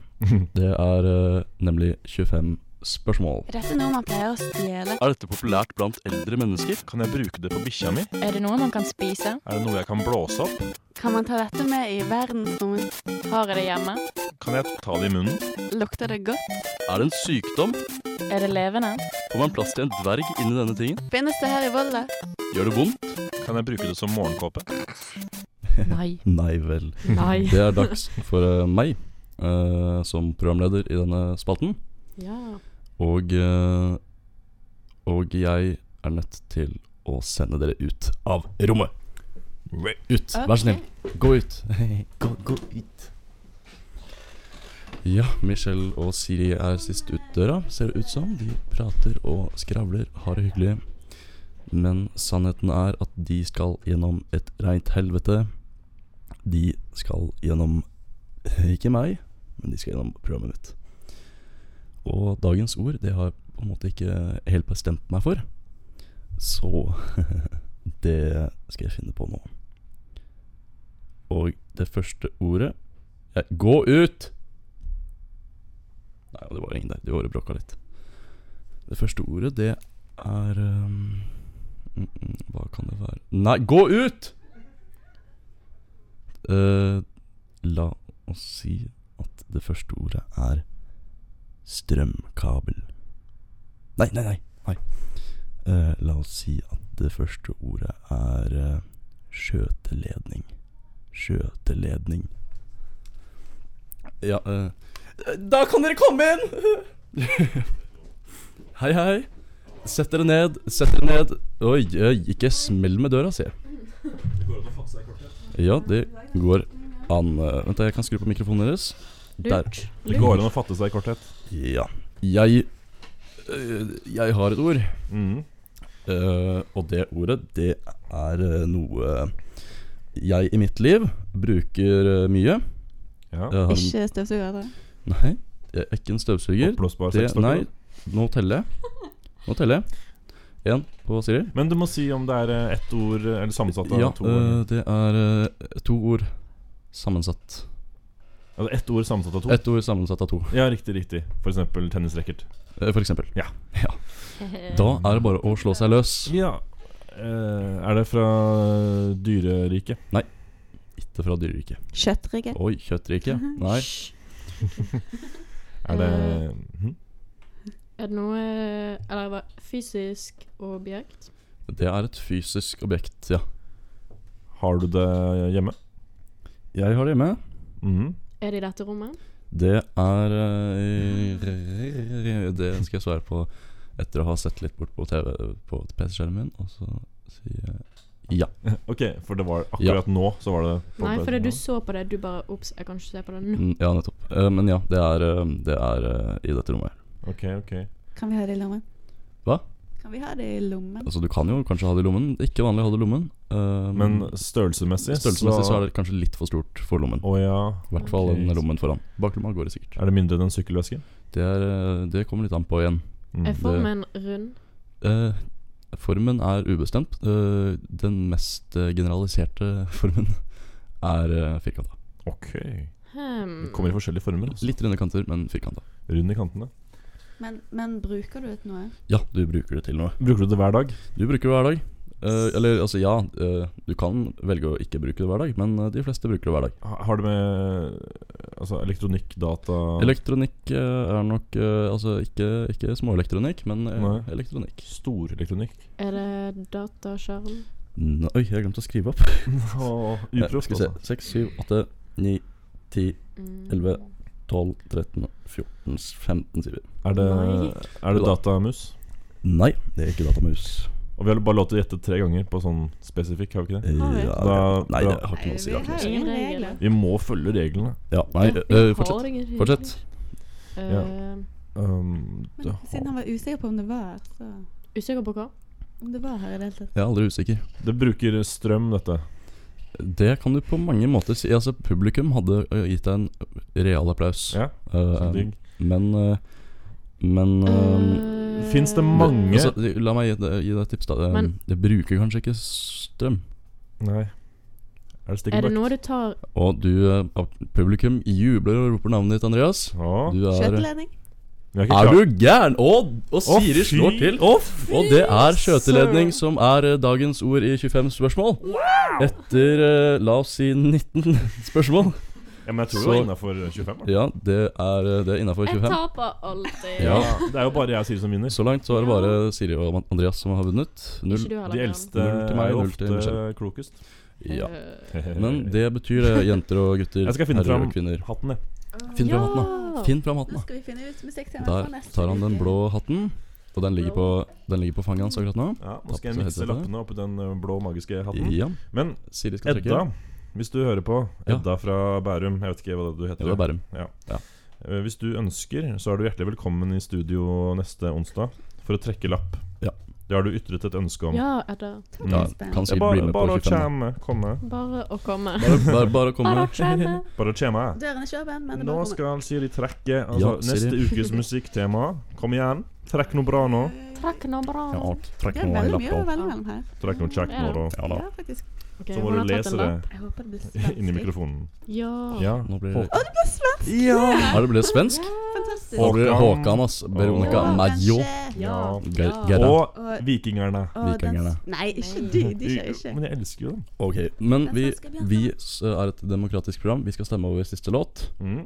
A: Det er eh, nemlig 25 spørsmål.
B: Er dette noe man pleier å stjele?
E: Er dette populært blant eldre mennesker?
D: Kan jeg bruke det på bikkja mi?
F: Er det noe man kan spise?
D: Er det noe jeg kan blåse opp?
B: Kan man ta dette med i verdensrommet?
F: Har jeg det hjemme?
D: Kan jeg ta det i munnen?
B: Lukter det godt?
E: Er det en sykdom?
F: Er det levende?
E: Får man plass til en dverg inni denne tingen?
B: Finnes det her i Volda?
E: Gjør det vondt?
A: [laughs]
D: Kan jeg bruke det som morgenkåpe?
F: Nei.
A: Nei vel.
C: Nei.
A: Det er dags for eh, meg eh, som programleder i denne spalten.
C: Ja.
A: Og eh, Og jeg er nødt til å sende dere ut av rommet. Ut. Vær så snill. Gå ut. [laughs] gå, gå ut. Ja, Michelle og Siri er sist ut døra, ser det ut som. De prater og skravler, har det hyggelig. Men sannheten er at de skal gjennom et reint helvete. De skal gjennom [laughs] ikke meg, men de skal gjennom programmet mitt. Og dagens ord, det har jeg på en måte ikke helt bestemt meg for. Så [laughs] det skal jeg finne på nå. Og det første ordet ja, Gå ut! Nei, det var ingen der. De året bråka litt. Det første ordet, det er um, mm, mm, Hva kan det være Nei, gå ut! Eh, la oss si at det første ordet er strømkabel. Nei, nei, nei. nei. Eh, la oss si at det første ordet er eh, skjøteledning. Skjøteledning. Ja eh, Da kan dere komme inn! [laughs] hei, hei. Sett dere ned, sett dere ned. Oi, oi, ikke smell med døra, sier jeg. Ja, det går an. Eh, Vent, da, jeg kan skru på mikrofonen deres. Der.
C: Lurt.
D: Det går an å fatte seg i korthet.
A: Ja. Jeg øh, Jeg har et ord.
D: Mm.
A: øh, og det ordet, det er øh, noe jeg i mitt liv bruker øh, mye.
D: Ja.
A: Jeg har en-
B: Ikke støvsugere?
A: Nei, jeg er ikke en støvsuger.
D: Oppblåsbar
A: Det,
D: sexdokke,
A: nei,
D: da.
A: nå teller jeg. Nå teller jeg. Én på Siri.
D: Men du må si om det er eh, ett ord eh, eller sammensatt av
A: Ja,
D: to. ord.
A: øh, det er øh, to ord sammensatt.
D: Altså ett ord sammensatt av to.
A: Ett ord sammensatt av to,
D: Ja, riktig, riktig. For eksempel tennisracket.
A: øh, for eksempel.
D: Ja.
A: ja. Da er det bare å slå seg løs.
D: Ja. Eh, er det fra dyreriket?
A: Ikke fra dyreriket.
B: Kjøttrygge?
A: Oi, kjøttriket. Nei.
C: Hysj.
D: Er det
C: Eh.
D: hm?
C: Er det noe Eller hva? Fysisk objekt?
A: Det er et fysisk objekt, ja.
D: Har du det hjemme?
A: Jeg har det hjemme.
D: Mhm. [laughs]
C: Er det i dette rommet?
A: Det er eh, Det skal jeg svare på etter å ha sett litt bort på TV på PC-skjermen min, og så sier jeg ja.
D: Ok, for det var akkurat nå så var det på
C: Nei,
D: bed-
C: fordi du så på det. Du bare Ops, jeg kan ikke se på det nå.
A: Mm, Ja, nettopp. Eh, Men ja, det er, eh, det er eh, i dette rommet. her.
D: Ok, ok.
B: Kan vi ha det i lommen?
A: Hva?
B: Kan vi ha det i lommen?
A: Altså, du kan jo kanskje ha det i lommen. Det er Ikke vanlig å ha det i lommen. eh,
D: Men størrelsesmessig
A: størrelsesmessig så er det kanskje litt for stort for lommen.
D: Å ja.
A: I hvert fall
D: ok.
A: den lommen foran. Baklomma går det sikkert.
D: Er det mindre enn en sykkelveske?
A: Det, er, eh, det kommer litt an på igjen.
D: Mm.
C: Er formen rund?
A: Eh, formen er ubestemt. Eh, den mest eh, generaliserte [laughs] formen er uh, firkanta.
D: Ok. Det
C: Hmm.
D: kommer i forskjellige former. Altså.
A: Litt runde kanter, men firkanta.
D: Rund i kantene.
B: Men, men bruker du et noe?
A: Ja, du bruker det til noe.
D: Bruker du det hver dag?
A: Du bruker det hver dag. Eh, eller altså, ja, eh, du kan velge å ikke bruke det hver dag, men eh, de fleste bruker det hver dag.
D: Ha- Har det med altså, elektronikk, data
A: Elektronikk eh, er nok eh, Altså ikke, ikke småelektronikk, men eh,
D: Nei.
A: elektronikk.
D: Stor elektronikk.
C: Er det dataskjerm?
A: N oi, jeg glemte å skrive [laughs] opp.
D: Åh,
A: Eh,
D: Uproft,
A: skal vi se.
D: altså.
A: 6, 7, 8, 9, 10,
C: Mm.
A: 11, 12, 13, 14, 15 sider.
D: Er det,
C: Nei.
D: er det datamus?
A: Nei, det er ikke datamus.
D: Og vi har bare lov til å gjette tre ganger på sånn spesifikk, har vi ikke det?
A: Eh,
B: Har vi?
A: Ja, nei, det har ikke
B: Nei,
A: noe å si.
B: vi
A: det har ikke noe å
B: har
A: si.
B: jo ingen
C: Ingen regler.
B: regler.
D: Vi må følge reglene.
A: Ja, nei, eh, fortsett. Fortsett.
C: Eh,
D: Ja. Um,
B: Men siden han var usikker på om det var her, så
C: Usikker på hva?
B: Om det var her i det hele tatt.
A: Jeg er aldri usikker.
D: det bruker strøm, dette.
A: Det kan du på mange måter si. Altså, publikum hadde eh, gitt deg en real applaus.
D: Ja, Så
A: Eh,
D: digg.
A: men eh, men eh,
D: Fins det mange
A: altså, La meg gi, deg- gi deg et tips, da. Det,
C: Men-
A: det bruker kanskje ikke strøm.
D: Nei. Er det
C: Er det
D: Stickenback?
C: noe du tar
A: Og du, eh, av- publikum jubler og roper navnet ditt, Andreas.
D: Å,
A: Du er
B: Skjøteledning?
D: vi har ikke
A: Er
D: klart-
A: du gæren? Og, og
D: Å,
A: Siri
D: fy
A: slår til. Og, og det er skjøteledning som er eh, dagens ord i 25 spørsmål. Etter eh, la oss si 19 [laughs] spørsmål.
D: Ja, men jeg tror det
A: Så-
D: var innafor 25. Da.
A: Ja, det er, eh, det er innafor
C: Jeg
A: 25.
C: taper alltid.
A: Ja.
D: Det er jo bare jeg og Siri som vinner.
A: Så langt så er det bare Siri og Andreas som har vunnet. Null.
C: Ikke du heller.
D: De
C: Bjørn.
D: eldste
A: Null til meg,
D: er jo
A: null til
D: ofte klokest.
A: Ja.
C: Eh,
A: Men det betyr det, jenter og gutter,
D: Jeg skal finne
A: herrer
D: fram-
A: og kvinner.
D: Hatten, jeg.
A: Finn fram
C: ja.
A: hatten, da. Finn fram hatten,
B: Nå
A: da.
B: skal vi finne ut musikktemaet for
A: Der
B: neste
A: tar han den
B: uke.
A: blå hatten. Og den ligger på, den ligger på fanget hans akkurat nå.
D: Ja, nå skal
A: Tappet
D: jeg mikse
A: headsetet.
D: lappene oppi den ø, blå, magiske hatten.
A: Ja,
D: Men
A: Siri skal trekke.
D: Edda, hvis du hører på.
A: Ja.
D: Edda fra Bærum. Jeg vet ikke hva du
A: Ja,
D: heter.
A: det er
D: [laughs]
A: Bærum.
D: Eh, Hvis du ønsker, så er du hjertelig velkommen i studio neste onsdag for å trekke lapp.
A: Ja.
D: Det har du ytret et ønske om.
C: ja, Edda.
D: Mm.
A: Ja,
B: Spennende.
A: kan
D: Det er
A: sikkert bli
D: bare,
A: med på
D: bare å
A: 25.
D: kjemme, komme.
C: [laughs] Bare å komme.
A: Bare, bare, bare å
C: Bare
A: komme.
C: å
A: [laughs]
C: komme.
D: Bare å kjemme.
B: Døren er ikke åpen, men det
D: Nå
B: bare kommer.
D: skal Siri trekke altså,
A: Ja, Siri. [laughs]
D: neste ukes musikktema. Kom igjen. Trekk noe bra nå.
C: Trekk nå bra.
A: Ja, trekk
B: Det er
A: noen
B: veldig mye å
A: lapper.
B: velge mellom her.
D: Trekk noe kjekt nå, da.
A: Ja da.
B: Ja, faktisk.
C: Ok,
D: Så må
C: hun
D: du
C: har tatt en
D: lese det
C: lapp.
B: Jeg håper det blir
D: inni
B: svensk.
D: mikrofonen.
C: Ja.
D: Ja.
A: Nå blir
D: Håk-
A: det Ja! Er det ble svensk?
B: Fantastisk.
A: Nå blir det
D: Håkan.
A: Håkan, ass. Veronica
D: Åh.
A: Maggio.
B: kanskje.
D: Ja.
A: Ge-
C: Ja.
A: Gerda.
D: Og
B: Og-
D: vikingerne.
B: og den-
A: Vikingerne.
B: Nei, ikke
C: Nei.
B: de. De kjører ikke.
D: Men jeg elsker jo dem.
A: Ok, men vi,
B: Den svenske bjørnen.
A: vi s- er et demokratisk program. Vi skal stemme over siste låt.
D: Mm.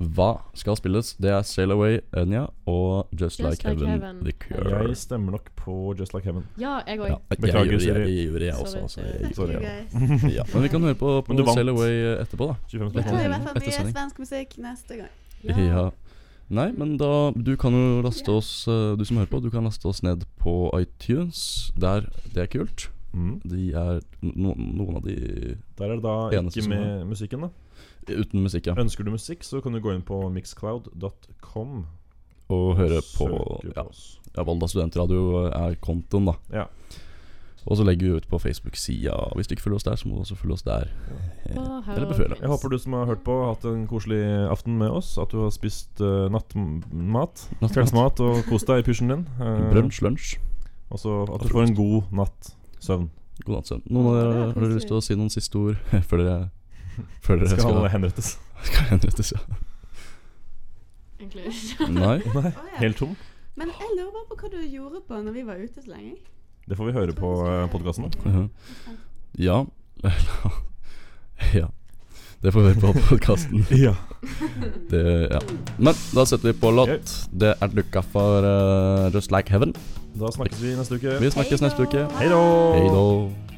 A: Hva skal spilles? Det er Sail Away, Enya og Just, Like, Heaven, The Cure.
D: Jeg stemmer nok på Just Like Heaven.
C: Ja, jeg òg.
A: Ja, jeg
D: Beklager,
A: gjør det, jeg,
D: Siri.
A: jeg, gjør det, jeg også. Altså, jeg,
B: Thank
D: [laughs] Sorry,
B: you,
D: ja.
B: guys.
A: gjør- ja. Men vi kan høre på,
D: Men du
A: på
D: vant.
A: Sail Away etterpå, da.
D: 25
B: Jeg tror i
D: spørsmål.
B: hvert fall mye
D: sånn-
A: Ettersending.
B: svensk musikk neste gang.
A: Ja. Nei, men da Du kan jo laste oss eh, Du som hører på, du kan laste oss ned på iTunes. Der, det er kult.
D: Mm.
A: De er no, Noen av de
D: Der er det da
A: Eneste
D: ikke
A: som
D: med musikken, da.
A: uten musikk, ja.
D: Ønsker du musikk, så kan du gå inn på mixcloud.com.
A: Og høre på
D: Søker
A: ja,
D: oss.
A: ja, Volda studentradio er kontoen, da.
D: Ja.
A: Og så legger vi ut på Facebook-sida. Hvis du ikke følger oss der, så må du også følge oss der. Eh, Eller beføler.
D: Jeg håper du som har hørt på, har hatt en koselig aften med oss. At du har spist eh, nattmat, kveldsmat og kost deg i pysjen [laughs] din. eh,
A: Brunsj, lunsj.
D: Og så at du får en god natt søvn.
A: God natt, søvn. Noen av dere har dere lyst til å si noen siste ord [laughs] før dere, før dere
D: Skal
A: skal,
D: alle [laughs] henrettes?
A: skal henrettes? Ja.
C: Egentlig.
A: Nei?
D: Nei,
B: Å, ja.
D: helt tom?
B: Men jeg lurer bare på hva du gjorde på når vi var ute så lenge.
D: Det får vi høre på eh, podkasten.
A: Mhm. Ja. [laughs] ja. Det får vi høre på podkasten.
D: Ja.
A: Det, ja. Men da setter vi på låt. Det er dukka for eh, Just Like Heaven.
D: Da snakkes vi neste uke.
A: Vi snakkes neste uke.
D: Hei da!
A: Hei da.